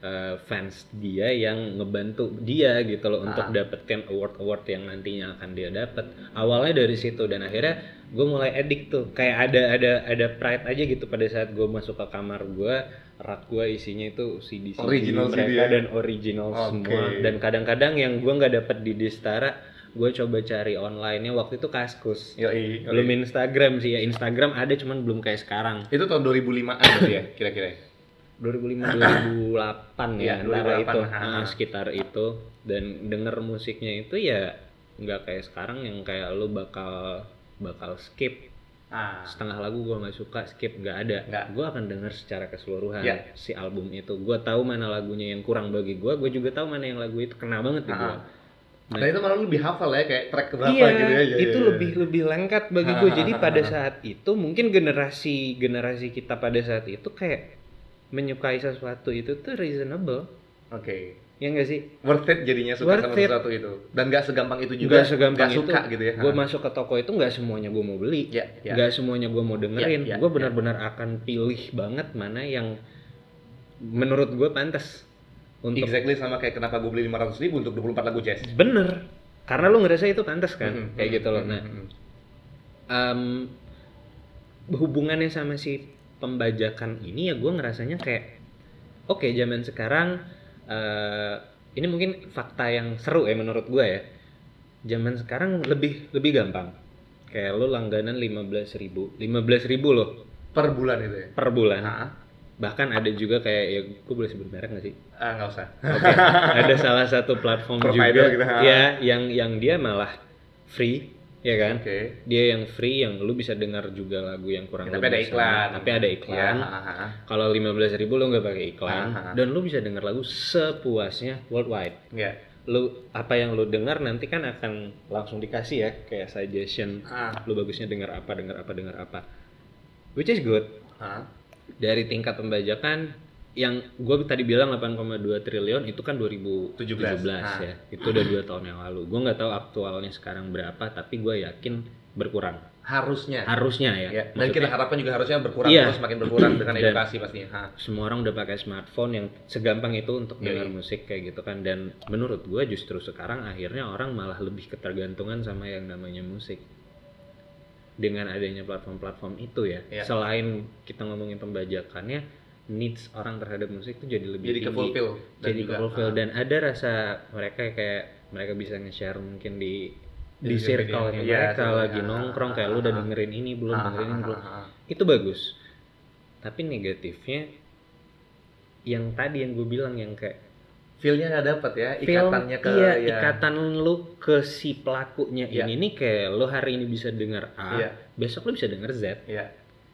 [SPEAKER 2] eh, fans dia yang ngebantu dia gitu loh
[SPEAKER 1] Ah.
[SPEAKER 2] untuk dapetin award award yang nantinya akan dia dapet awalnya dari situ dan akhirnya gue mulai edik tuh kayak ada ada ada pride aja gitu pada saat gue masuk ke kamar gue rak gue isinya itu CD CD
[SPEAKER 1] Original
[SPEAKER 2] mereka
[SPEAKER 1] CD ya?
[SPEAKER 2] dan original
[SPEAKER 1] Oke.
[SPEAKER 2] semua dan kadang-kadang yang gue nggak dapet di Distara gue coba cari online nya waktu itu kaskus
[SPEAKER 1] Yoi, yoi.
[SPEAKER 2] belum Instagram sih ya Instagram ada cuman belum kayak sekarang
[SPEAKER 1] Itu tahun 2005-an berarti ya kira-kira.
[SPEAKER 2] 2005 2008
[SPEAKER 1] Iya,
[SPEAKER 2] ya, antara
[SPEAKER 1] 2008,
[SPEAKER 2] itu
[SPEAKER 1] ah.
[SPEAKER 2] ah, sekitar itu dan denger musiknya itu ya nggak kayak sekarang yang kayak lu bakal bakal skip
[SPEAKER 1] Ah.
[SPEAKER 2] setengah lagu gua nggak suka skip nggak ada
[SPEAKER 1] Nggak.
[SPEAKER 2] gua akan denger secara keseluruhan
[SPEAKER 1] Iya.
[SPEAKER 2] si album itu gua tahu mana lagunya yang kurang bagi gua gua juga tahu mana yang lagu itu kena banget di gua
[SPEAKER 1] Ah. Nah, itu malah lebih hafal ya kayak track keberapa gitu
[SPEAKER 2] iya,
[SPEAKER 1] ya. Iya,
[SPEAKER 2] itu
[SPEAKER 1] iya, iya.
[SPEAKER 2] lebih lebih lengkap bagi gue. Jadi pada saat itu mungkin generasi generasi kita pada saat itu kayak menyukai sesuatu itu tuh reasonable,
[SPEAKER 1] Oke.
[SPEAKER 2] ya nggak sih?
[SPEAKER 1] Worth it jadinya suka
[SPEAKER 2] Worth
[SPEAKER 1] sama
[SPEAKER 2] it.
[SPEAKER 1] sesuatu itu. Dan nggak segampang itu juga.
[SPEAKER 2] Juga segampang
[SPEAKER 1] nggak
[SPEAKER 2] itu.
[SPEAKER 1] suka gitu ya.
[SPEAKER 2] Gue masuk ke toko itu nggak semuanya gue mau beli,
[SPEAKER 1] ya, ya.
[SPEAKER 2] nggak semuanya gue mau dengerin.
[SPEAKER 1] Ya, ya,
[SPEAKER 2] gue benar-benar akan pilih banget mana yang menurut gue pantas untuk
[SPEAKER 1] Exactly sama kayak kenapa gue beli 500 ribu untuk 24 lagu jazz. kan?
[SPEAKER 2] bener. Karena lu ngerasa itu pantas kan,
[SPEAKER 1] Mhm,
[SPEAKER 2] kayak
[SPEAKER 1] mhm,
[SPEAKER 2] gitu loh.
[SPEAKER 1] mhm,
[SPEAKER 2] Nah,
[SPEAKER 1] mhm.
[SPEAKER 2] em, hubungannya sama si pembajakan ini ya gue ngerasanya kayak oke zaman sekarang eh, ini mungkin fakta yang seru ya menurut gue ya zaman sekarang lebih lebih gampang kayak lo langganan 15.000 ribu 15.000 loh
[SPEAKER 1] per bulan itu ya.
[SPEAKER 2] per bulan
[SPEAKER 1] Heeh.
[SPEAKER 2] bahkan ada juga kayak ya gue boleh sebut merek nggak sih
[SPEAKER 1] Ah, nggak usah.
[SPEAKER 2] Oke, ada salah satu platform
[SPEAKER 1] Provider
[SPEAKER 2] juga
[SPEAKER 1] gitu, ha.
[SPEAKER 2] ya yang yang dia malah free ya kan
[SPEAKER 1] Oke.
[SPEAKER 2] dia yang free yang lu bisa dengar juga lagu yang kurang
[SPEAKER 1] Tapi ada
[SPEAKER 2] lebih sama,
[SPEAKER 1] iklan.
[SPEAKER 2] tapi ada
[SPEAKER 1] Ya,
[SPEAKER 2] iklan
[SPEAKER 1] ah, ah, ah.
[SPEAKER 2] kalau 15.000 ribu lu nggak pakai iklan
[SPEAKER 1] Aha.
[SPEAKER 2] dan lu bisa dengar lagu sepuasnya worldwide
[SPEAKER 1] Ya.
[SPEAKER 2] lu apa yang lu dengar nanti kan akan langsung dikasih ya kayak suggestion
[SPEAKER 1] Ah.
[SPEAKER 2] lu bagusnya dengar apa dengar apa dengar apa which is good
[SPEAKER 1] ah.
[SPEAKER 2] dari tingkat pembajakan yang gue tadi bilang 8,2 triliun itu kan 2017
[SPEAKER 1] Ah.
[SPEAKER 2] ya itu udah dua tahun yang lalu gue nggak tahu aktualnya sekarang berapa tapi gue yakin berkurang
[SPEAKER 1] Harusnya.
[SPEAKER 2] harusnya ya,
[SPEAKER 1] Ya, Dan
[SPEAKER 2] Maksudnya,
[SPEAKER 1] kita harapkan juga harusnya berkurang
[SPEAKER 2] Iya.
[SPEAKER 1] terus makin berkurang dengan
[SPEAKER 2] Dan-
[SPEAKER 1] edukasi pastinya. Ah, Ha.
[SPEAKER 2] semua orang udah pakai smartphone yang segampang itu untuk
[SPEAKER 1] Yoi.
[SPEAKER 2] dengar musik kayak gitu kan dan menurut gue justru sekarang akhirnya orang malah lebih ketergantungan sama yang namanya musik dengan adanya platform-platform itu ya
[SPEAKER 1] Iya.
[SPEAKER 2] selain kita ngomongin pembajakannya needs orang terhadap musik tuh jadi lebih
[SPEAKER 1] jadi
[SPEAKER 2] tinggi.
[SPEAKER 1] kefulfill dan
[SPEAKER 2] jadi
[SPEAKER 1] juga,
[SPEAKER 2] kefulfill
[SPEAKER 1] ah,
[SPEAKER 2] dan ada rasa mereka kayak mereka bisa nge-share mungkin di di
[SPEAKER 1] Di
[SPEAKER 2] circle
[SPEAKER 1] media,
[SPEAKER 2] mereka
[SPEAKER 1] iya,
[SPEAKER 2] lagi
[SPEAKER 1] iya.
[SPEAKER 2] nongkrong kayak lu
[SPEAKER 1] Ah,
[SPEAKER 2] udah dengerin ini belum
[SPEAKER 1] ah,
[SPEAKER 2] dengerin ini
[SPEAKER 1] ah,
[SPEAKER 2] belum
[SPEAKER 1] ah, ah.
[SPEAKER 2] itu bagus tapi negatifnya yang tadi yang gue bilang yang kayak
[SPEAKER 1] feel-nya nggak dapet ya
[SPEAKER 2] feel-
[SPEAKER 1] ikatannya ke
[SPEAKER 2] iya,
[SPEAKER 1] ya.
[SPEAKER 2] ikatan lu ke si pelakunya
[SPEAKER 1] Iya.
[SPEAKER 2] ini nih kayak lu hari ini bisa denger A
[SPEAKER 1] Iya.
[SPEAKER 2] besok lu bisa denger Z
[SPEAKER 1] Iya.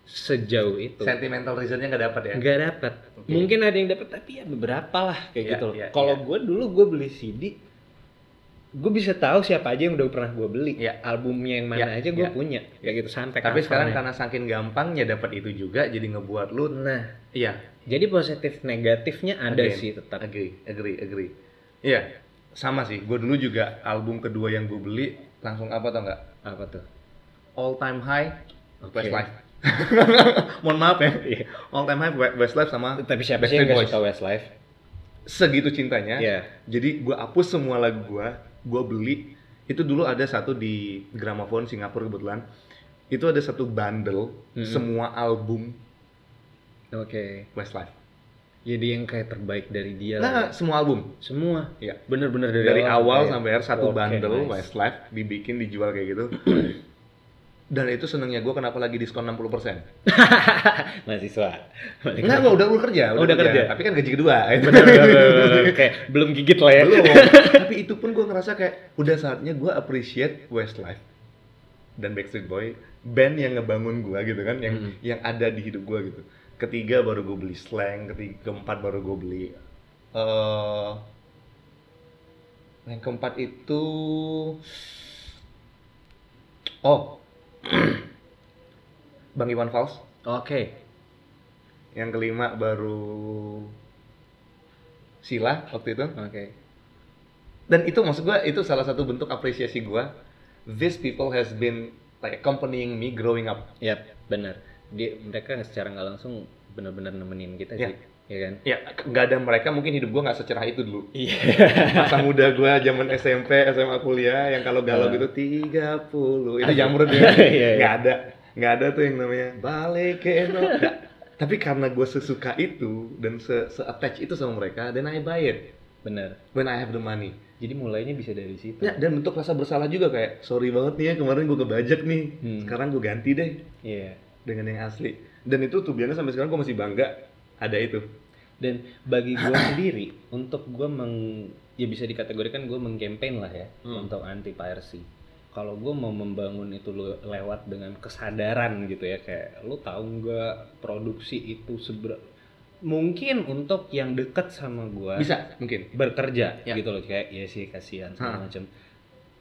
[SPEAKER 2] sejauh itu
[SPEAKER 1] sentimental reasonnya nggak dapet ya
[SPEAKER 2] nggak dapet
[SPEAKER 1] Oke.
[SPEAKER 2] mungkin ada yang dapet tapi ya beberapa lah kayak
[SPEAKER 1] Iya,
[SPEAKER 2] gitu loh
[SPEAKER 1] iya,
[SPEAKER 2] kalau
[SPEAKER 1] iya.
[SPEAKER 2] gue dulu gue beli CD gue bisa tahu siapa aja yang udah pernah gue beli
[SPEAKER 1] Iya.
[SPEAKER 2] albumnya yang
[SPEAKER 1] Iya,
[SPEAKER 2] mana aja gue
[SPEAKER 1] iya.
[SPEAKER 2] punya kayak gitu sampai
[SPEAKER 1] tapi
[SPEAKER 2] covernya.
[SPEAKER 1] sekarang kan- karena saking gampangnya dapet itu juga jadi ngebuat lu
[SPEAKER 2] nah
[SPEAKER 1] iya
[SPEAKER 2] jadi positif negatifnya ada
[SPEAKER 1] Again.
[SPEAKER 2] sih tetap
[SPEAKER 1] agree agree agree iya sama sih gue dulu juga album kedua yang gue beli langsung apa tau nggak
[SPEAKER 2] apa tuh
[SPEAKER 1] all time high
[SPEAKER 2] Oke.
[SPEAKER 1] Westlife mohon maaf ya
[SPEAKER 2] Iya.
[SPEAKER 1] all time high We- Westlife sama
[SPEAKER 2] Ah, tapi siapa sih
[SPEAKER 1] Backstreet
[SPEAKER 2] yang nggak
[SPEAKER 1] Boys.
[SPEAKER 2] suka Westlife
[SPEAKER 1] segitu cintanya
[SPEAKER 2] Iya.
[SPEAKER 1] jadi gue hapus semua lagu gue gue beli itu dulu ada satu di Gramophone Singapura kebetulan itu ada satu bundle
[SPEAKER 2] Mhm.
[SPEAKER 1] semua album
[SPEAKER 2] oke
[SPEAKER 1] Westlife
[SPEAKER 2] jadi yang kayak terbaik dari dia lah
[SPEAKER 1] nah
[SPEAKER 2] ya.
[SPEAKER 1] semua album
[SPEAKER 2] semua
[SPEAKER 1] Iya.
[SPEAKER 2] bener-bener
[SPEAKER 1] dari
[SPEAKER 2] dari,
[SPEAKER 1] awal
[SPEAKER 2] sampai
[SPEAKER 1] sampai akhir satu
[SPEAKER 2] oh, iya. Oke,
[SPEAKER 1] bundle
[SPEAKER 2] nice.
[SPEAKER 1] Westlife dibikin dijual kayak gitu dan itu senengnya gue kenapa lagi diskon 60% persen
[SPEAKER 2] mahasiswa Balik
[SPEAKER 1] enggak
[SPEAKER 2] lagi.
[SPEAKER 1] gue udah, udah kerja
[SPEAKER 2] Oh, udah kerja.
[SPEAKER 1] tapi kan gaji kedua
[SPEAKER 2] bener, bener, bener, bener. kayak belum gigit lah ya
[SPEAKER 1] belum tapi itu pun gue ngerasa kayak udah saatnya gue appreciate Westlife dan Backstreet Boy band yang ngebangun gue gitu kan yang
[SPEAKER 2] Hmm.
[SPEAKER 1] yang ada di hidup gue gitu ketiga baru gue beli Slang ketiga keempat baru gue beli eh yang keempat itu oh Bang Iwan Fals
[SPEAKER 2] oke
[SPEAKER 1] yang kelima baru Sila waktu itu
[SPEAKER 2] oke
[SPEAKER 1] dan itu maksud gua itu salah satu bentuk apresiasi gua these people has been like accompanying me growing up
[SPEAKER 2] Yap, bener Dia, mereka secara nggak langsung bener-bener nemenin kita
[SPEAKER 1] Iya.
[SPEAKER 2] sih ya kan
[SPEAKER 1] ya nggak ada mereka mungkin hidup gua nggak secerah itu dulu
[SPEAKER 2] iya
[SPEAKER 1] masa muda gua zaman SMP SMA kuliah yang kalau galau gitu 30 itu jamur deh
[SPEAKER 2] Iya, iya.
[SPEAKER 1] nggak ada nggak ada tuh yang namanya balik ke Eno. Nggak. tapi karena gua sesuka itu dan se, attach itu sama mereka then I buy it
[SPEAKER 2] bener
[SPEAKER 1] when I have the money
[SPEAKER 2] jadi mulainya bisa dari situ
[SPEAKER 1] ya, dan bentuk rasa bersalah juga kayak sorry banget nih ya kemarin gua kebajak nih
[SPEAKER 2] Hmm.
[SPEAKER 1] sekarang gua ganti deh
[SPEAKER 2] iya
[SPEAKER 1] dengan yang asli dan itu tuh biasanya sampai sekarang gue masih bangga ada itu
[SPEAKER 2] dan bagi gue sendiri untuk gue meng ya bisa dikategorikan gue mengcampaign lah ya
[SPEAKER 1] Hmm.
[SPEAKER 2] untuk anti piracy kalau gue mau membangun itu le- lewat dengan kesadaran gitu ya kayak lu tahu nggak produksi itu seber mungkin untuk yang dekat sama gue
[SPEAKER 1] bisa mungkin
[SPEAKER 2] bekerja
[SPEAKER 1] Ya.
[SPEAKER 2] gitu loh kayak ya sih
[SPEAKER 1] Ha.
[SPEAKER 2] kasihan segala macam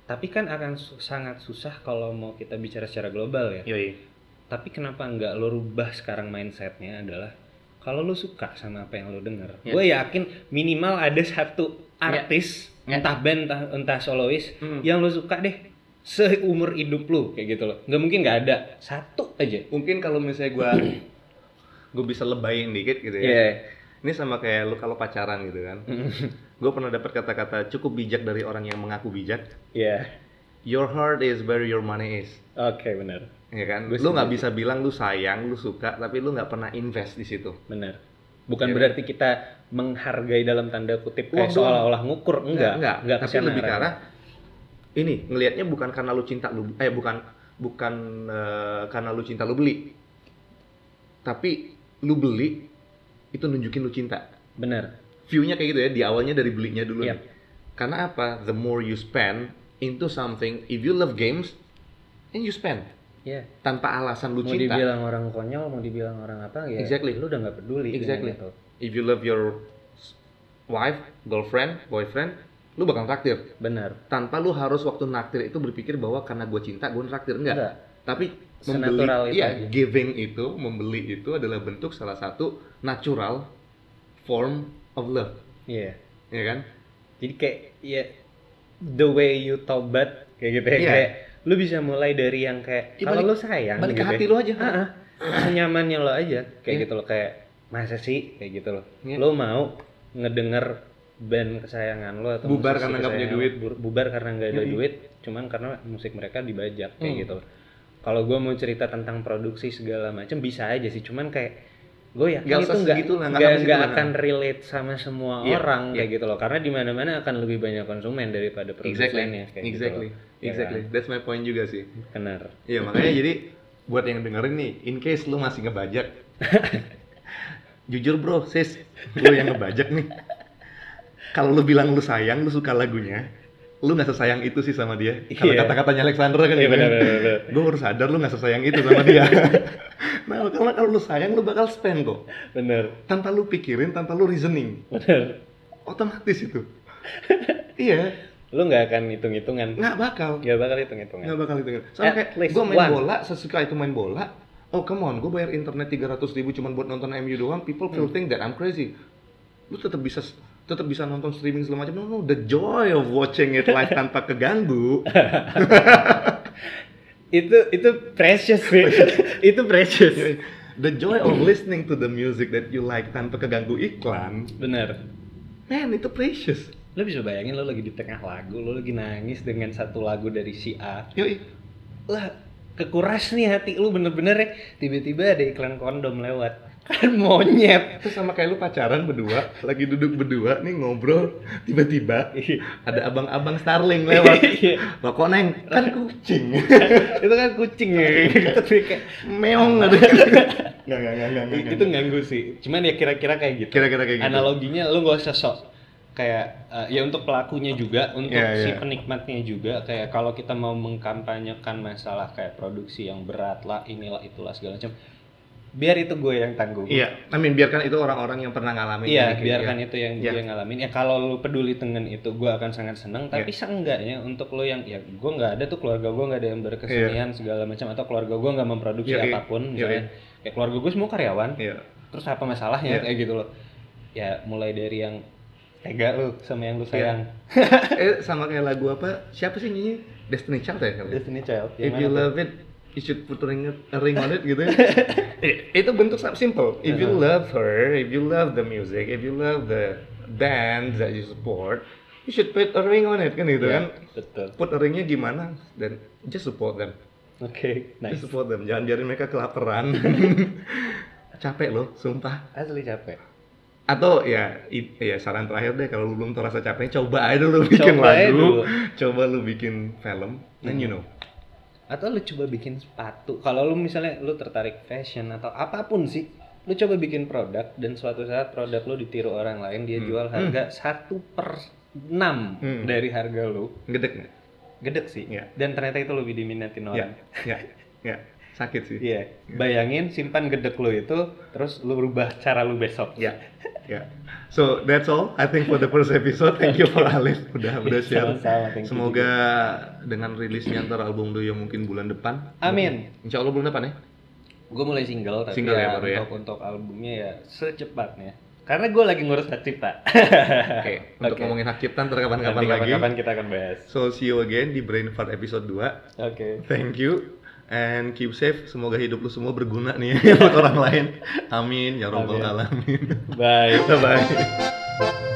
[SPEAKER 2] tapi kan akan su- sangat susah kalau mau kita bicara secara global ya
[SPEAKER 1] yoi
[SPEAKER 2] tapi kenapa nggak lo rubah sekarang mindsetnya adalah kalau lo suka sama apa yang lo denger,
[SPEAKER 1] Ya.
[SPEAKER 2] gue yakin minimal ada satu artis
[SPEAKER 1] Ya.
[SPEAKER 2] entah band entah, entah solois
[SPEAKER 1] Hmm.
[SPEAKER 2] yang lo suka deh seumur hidup lo kayak gitu loh. Nggak mungkin nggak ada satu aja.
[SPEAKER 1] mungkin kalau misalnya gue gue bisa lebayin dikit gitu ya
[SPEAKER 2] Iya.
[SPEAKER 1] ini sama kayak lu kalau pacaran gitu kan gue pernah dapat kata-kata cukup bijak dari orang yang mengaku bijak
[SPEAKER 2] Iya.
[SPEAKER 1] your heart is where your money is
[SPEAKER 2] Oke benar,
[SPEAKER 1] ya kan
[SPEAKER 2] Gua
[SPEAKER 1] lu nggak
[SPEAKER 2] setuju.
[SPEAKER 1] bisa bilang lu sayang lu suka tapi lu nggak pernah invest di situ
[SPEAKER 2] benar. Bukan
[SPEAKER 1] Ya.
[SPEAKER 2] berarti kita menghargai dalam tanda kutip
[SPEAKER 1] Uang
[SPEAKER 2] kayak
[SPEAKER 1] doang.
[SPEAKER 2] seolah-olah ngukur enggak,
[SPEAKER 1] enggak,
[SPEAKER 2] enggak
[SPEAKER 1] tapi
[SPEAKER 2] kesana
[SPEAKER 1] lebih ke
[SPEAKER 2] arahnya.
[SPEAKER 1] arah ini ngelihatnya bukan karena lu cinta lu eh bukan bukan eh, karena lu cinta lu beli tapi lu beli itu nunjukin lu cinta
[SPEAKER 2] Benar.
[SPEAKER 1] view-nya kayak gitu ya di awalnya dari belinya dulu
[SPEAKER 2] Yap.
[SPEAKER 1] nih. karena apa the more you spend into something if you love games and you spend
[SPEAKER 2] Iya.
[SPEAKER 1] tanpa alasan lu
[SPEAKER 2] Mau
[SPEAKER 1] cinta
[SPEAKER 2] dibilang orang konyol, mau dibilang orang apa ya?
[SPEAKER 1] Exactly.
[SPEAKER 2] Lu udah nggak peduli. gitu. dengan
[SPEAKER 1] Exactly.
[SPEAKER 2] itu.
[SPEAKER 1] if you love your wife girlfriend boyfriend lu bakal traktir
[SPEAKER 2] Benar.
[SPEAKER 1] tanpa lu harus waktu naktir itu berpikir bahwa karena gue cinta gue naktir enggak.
[SPEAKER 2] Enggak.
[SPEAKER 1] tapi Iya. membeli
[SPEAKER 2] Senatural itu
[SPEAKER 1] iya,
[SPEAKER 2] aja.
[SPEAKER 1] giving itu membeli itu adalah bentuk salah satu natural form of love
[SPEAKER 2] Iya.
[SPEAKER 1] ya kan
[SPEAKER 2] Jadi kayak ya the way you tobat kayak gitu ya
[SPEAKER 1] Iya.
[SPEAKER 2] kayak lu bisa mulai dari yang kayak
[SPEAKER 1] Iya,
[SPEAKER 2] kalau
[SPEAKER 1] balik-
[SPEAKER 2] lu sayang
[SPEAKER 1] balik ke
[SPEAKER 2] gitu
[SPEAKER 1] hati
[SPEAKER 2] ya.
[SPEAKER 1] lu aja
[SPEAKER 2] Ah, ah. senyamannya lo aja kayak
[SPEAKER 1] Iya.
[SPEAKER 2] gitu loh kayak masa sih kayak gitu loh.
[SPEAKER 1] Iya.
[SPEAKER 2] Lo mau ngedenger band kesayangan lo atau
[SPEAKER 1] Bubar
[SPEAKER 2] musisi
[SPEAKER 1] karena nggak punya
[SPEAKER 2] kesayangan
[SPEAKER 1] duit.
[SPEAKER 2] lo, bu- bubar karena nggak ada
[SPEAKER 1] Yoi.
[SPEAKER 2] duit cuman karena musik mereka dibajak kayak
[SPEAKER 1] Hmm.
[SPEAKER 2] gitu loh. kalau gue mau cerita tentang produksi segala macam bisa aja sih cuman kayak gue yakin
[SPEAKER 1] Nggak
[SPEAKER 2] itu
[SPEAKER 1] usah
[SPEAKER 2] nggak
[SPEAKER 1] segitulah, nggak
[SPEAKER 2] nggak
[SPEAKER 1] sampai
[SPEAKER 2] nggak
[SPEAKER 1] segitulah.
[SPEAKER 2] akan relate sama semua
[SPEAKER 1] Iya,
[SPEAKER 2] orang
[SPEAKER 1] iya.
[SPEAKER 2] kayak gitu loh karena di mana mana akan lebih banyak konsumen daripada produk
[SPEAKER 1] Exactly.
[SPEAKER 2] lainnya kayak
[SPEAKER 1] exactly.
[SPEAKER 2] gitu loh. Ya
[SPEAKER 1] Exactly. That's my point juga sih.
[SPEAKER 2] kan? benar
[SPEAKER 1] Iya, makanya jadi buat yang dengerin nih, in case lu masih ngebajak. jujur bro, sis, lu yang ngebajak nih. Kalau lu bilang lu sayang, lu suka lagunya, lu nggak sesayang itu sih sama dia. Kalau
[SPEAKER 2] Iya.
[SPEAKER 1] kata-katanya Alexandra kan
[SPEAKER 2] Iya,
[SPEAKER 1] gitu
[SPEAKER 2] benar
[SPEAKER 1] kan.
[SPEAKER 2] benar benar.
[SPEAKER 1] Gue harus sadar lu nggak sesayang itu sama dia. nah, karena kalau lu sayang, lu bakal spend kok.
[SPEAKER 2] benar
[SPEAKER 1] Tanpa lu pikirin, tanpa lu reasoning.
[SPEAKER 2] benar
[SPEAKER 1] Otomatis itu. iya,
[SPEAKER 2] lu nggak akan hitung hitungan
[SPEAKER 1] nggak bakal.
[SPEAKER 2] nggak bakal hitung hitungan
[SPEAKER 1] Nggak bakal didengar. Soalnya
[SPEAKER 2] At
[SPEAKER 1] kayak
[SPEAKER 2] least
[SPEAKER 1] gue main
[SPEAKER 2] one.
[SPEAKER 1] bola, sesuka itu main bola. Oh come on, gue bayar internet 300 ribu cuma buat nonton MU doang. People still
[SPEAKER 2] Hmm.
[SPEAKER 1] think that I'm crazy. Lu tetap bisa tetap bisa nonton streaming segala macam. No, no, the joy of watching it live tanpa keganggu.
[SPEAKER 2] itu itu precious sih itu precious
[SPEAKER 1] The joy of listening to the music that you like tanpa keganggu iklan.
[SPEAKER 2] benar
[SPEAKER 1] Man, itu precious.
[SPEAKER 2] lu bisa bayangin lu lagi di tengah lagu lu lagi nangis dengan satu lagu dari si A
[SPEAKER 1] Yoi.
[SPEAKER 2] lah kekuras nih hati lu bener-bener ya tiba-tiba ada iklan kondom lewat kan monyet
[SPEAKER 1] Itu sama kayak lu pacaran berdua, lagi duduk berdua nih ngobrol, tiba-tiba ada abang-abang Starling lewat. Rokok neng, kan kucing.
[SPEAKER 2] Iya. itu kan kucing ya tapi kayak
[SPEAKER 1] meong ada nggak nggak nggak nggak
[SPEAKER 2] itu nganggu sih cuman ya kira-kira kayak gitu
[SPEAKER 1] kira-kira kayak gitu
[SPEAKER 2] analoginya lu gak usah sok kayak eh, ya untuk pelakunya juga untuk
[SPEAKER 1] Iya,
[SPEAKER 2] si
[SPEAKER 1] iya.
[SPEAKER 2] penikmatnya juga kayak kalau kita mau mengkampanyekan masalah kayak produksi yang berat lah inilah itulah segala macam biar itu gue yang tanggung
[SPEAKER 1] iya I mean, biarkan itu orang-orang yang pernah ngalamin
[SPEAKER 2] Iya,
[SPEAKER 1] ini, kayak-
[SPEAKER 2] biarkan itu yang
[SPEAKER 1] Iya.
[SPEAKER 2] dia ngalamin. Ya kalau lu peduli dengan itu, gue akan sangat senang. Tapi seenggaknya untuk lo yang, ya gue nggak ada tuh keluarga gue nggak ada yang berkesenian segala macam atau keluarga gue nggak
[SPEAKER 1] Iya,
[SPEAKER 2] memproduksi
[SPEAKER 1] iya.
[SPEAKER 2] apapun.
[SPEAKER 1] Iya,
[SPEAKER 2] Misalnya, ya keluarga gue semua karyawan.
[SPEAKER 1] iya
[SPEAKER 2] Terus apa masalahnya
[SPEAKER 1] Iya.
[SPEAKER 2] kayak gitu loh? Ya mulai dari yang tega lu sama
[SPEAKER 1] Iya.
[SPEAKER 2] yang lu sayang.
[SPEAKER 1] eh sama kayak lagu apa siapa sih nyanyi Destiny Child ya kalau
[SPEAKER 2] Destiny Child. yang
[SPEAKER 1] if
[SPEAKER 2] mana
[SPEAKER 1] you
[SPEAKER 2] tuh?
[SPEAKER 1] love it you should put a ring, a ring on it gitu ya. Eh, itu bentuk sa- simple if you love her if you love the music if you love the band that you support you should put a ring on it kan gitu
[SPEAKER 2] Iya,
[SPEAKER 1] kan
[SPEAKER 2] Betul.
[SPEAKER 1] put a ringnya gimana dan just support them Just
[SPEAKER 2] Oke, nice.
[SPEAKER 1] support them, jangan biarin mereka kelaparan. Capek loh, sumpah.
[SPEAKER 2] Asli capek.
[SPEAKER 1] Atau ya, i- ya saran terakhir deh kalau lu belum terasa capeknya coba aja dulu bikin
[SPEAKER 2] Coba aja
[SPEAKER 1] lagu,
[SPEAKER 2] dulu. Hmm.
[SPEAKER 1] coba lu bikin film, then you know.
[SPEAKER 2] atau lu coba bikin sepatu kalau lu misalnya lu tertarik fashion atau apapun sih lu coba bikin produk dan suatu saat produk lu ditiru orang lain dia jual harga satu per enam
[SPEAKER 1] Hmm.
[SPEAKER 2] dari harga lu
[SPEAKER 1] Gedek nggak?
[SPEAKER 2] gede sih
[SPEAKER 1] Iya.
[SPEAKER 2] dan ternyata itu lebih
[SPEAKER 1] Ya,
[SPEAKER 2] diminatin orang
[SPEAKER 1] ya, ya. Sakit sih.
[SPEAKER 2] iya bayangin simpan gedek lu itu terus lu rubah cara lu besok
[SPEAKER 1] Ya, ya. So that's all I think for the first episode. Thank you for Alif udah udah share.
[SPEAKER 2] Sama-sama, thank you
[SPEAKER 1] Semoga dengan rilisnya ntar album Doyo mungkin bulan depan.
[SPEAKER 2] amin
[SPEAKER 1] Insya Allah bulan depan ya.
[SPEAKER 2] gue mulai single tapi
[SPEAKER 1] Single ya baru ya.
[SPEAKER 2] untuk untuk albumnya ya secepatnya karena gue lagi ngurus hak cipta
[SPEAKER 1] Oke. Untuk
[SPEAKER 2] Eh, Oke.
[SPEAKER 1] ngomongin hak cipta ntar kapan-kapan
[SPEAKER 2] Nanti
[SPEAKER 1] lagi.
[SPEAKER 2] kapan-kapan kita akan bahas
[SPEAKER 1] So see you again di Brain Fart episode 2.
[SPEAKER 2] oke
[SPEAKER 1] Thank you and keep safe. Semoga hidup lu semua berguna nih buat orang lain. Amin ya rabbal
[SPEAKER 2] Amin.
[SPEAKER 1] alamin.
[SPEAKER 2] bye
[SPEAKER 1] Bye bye.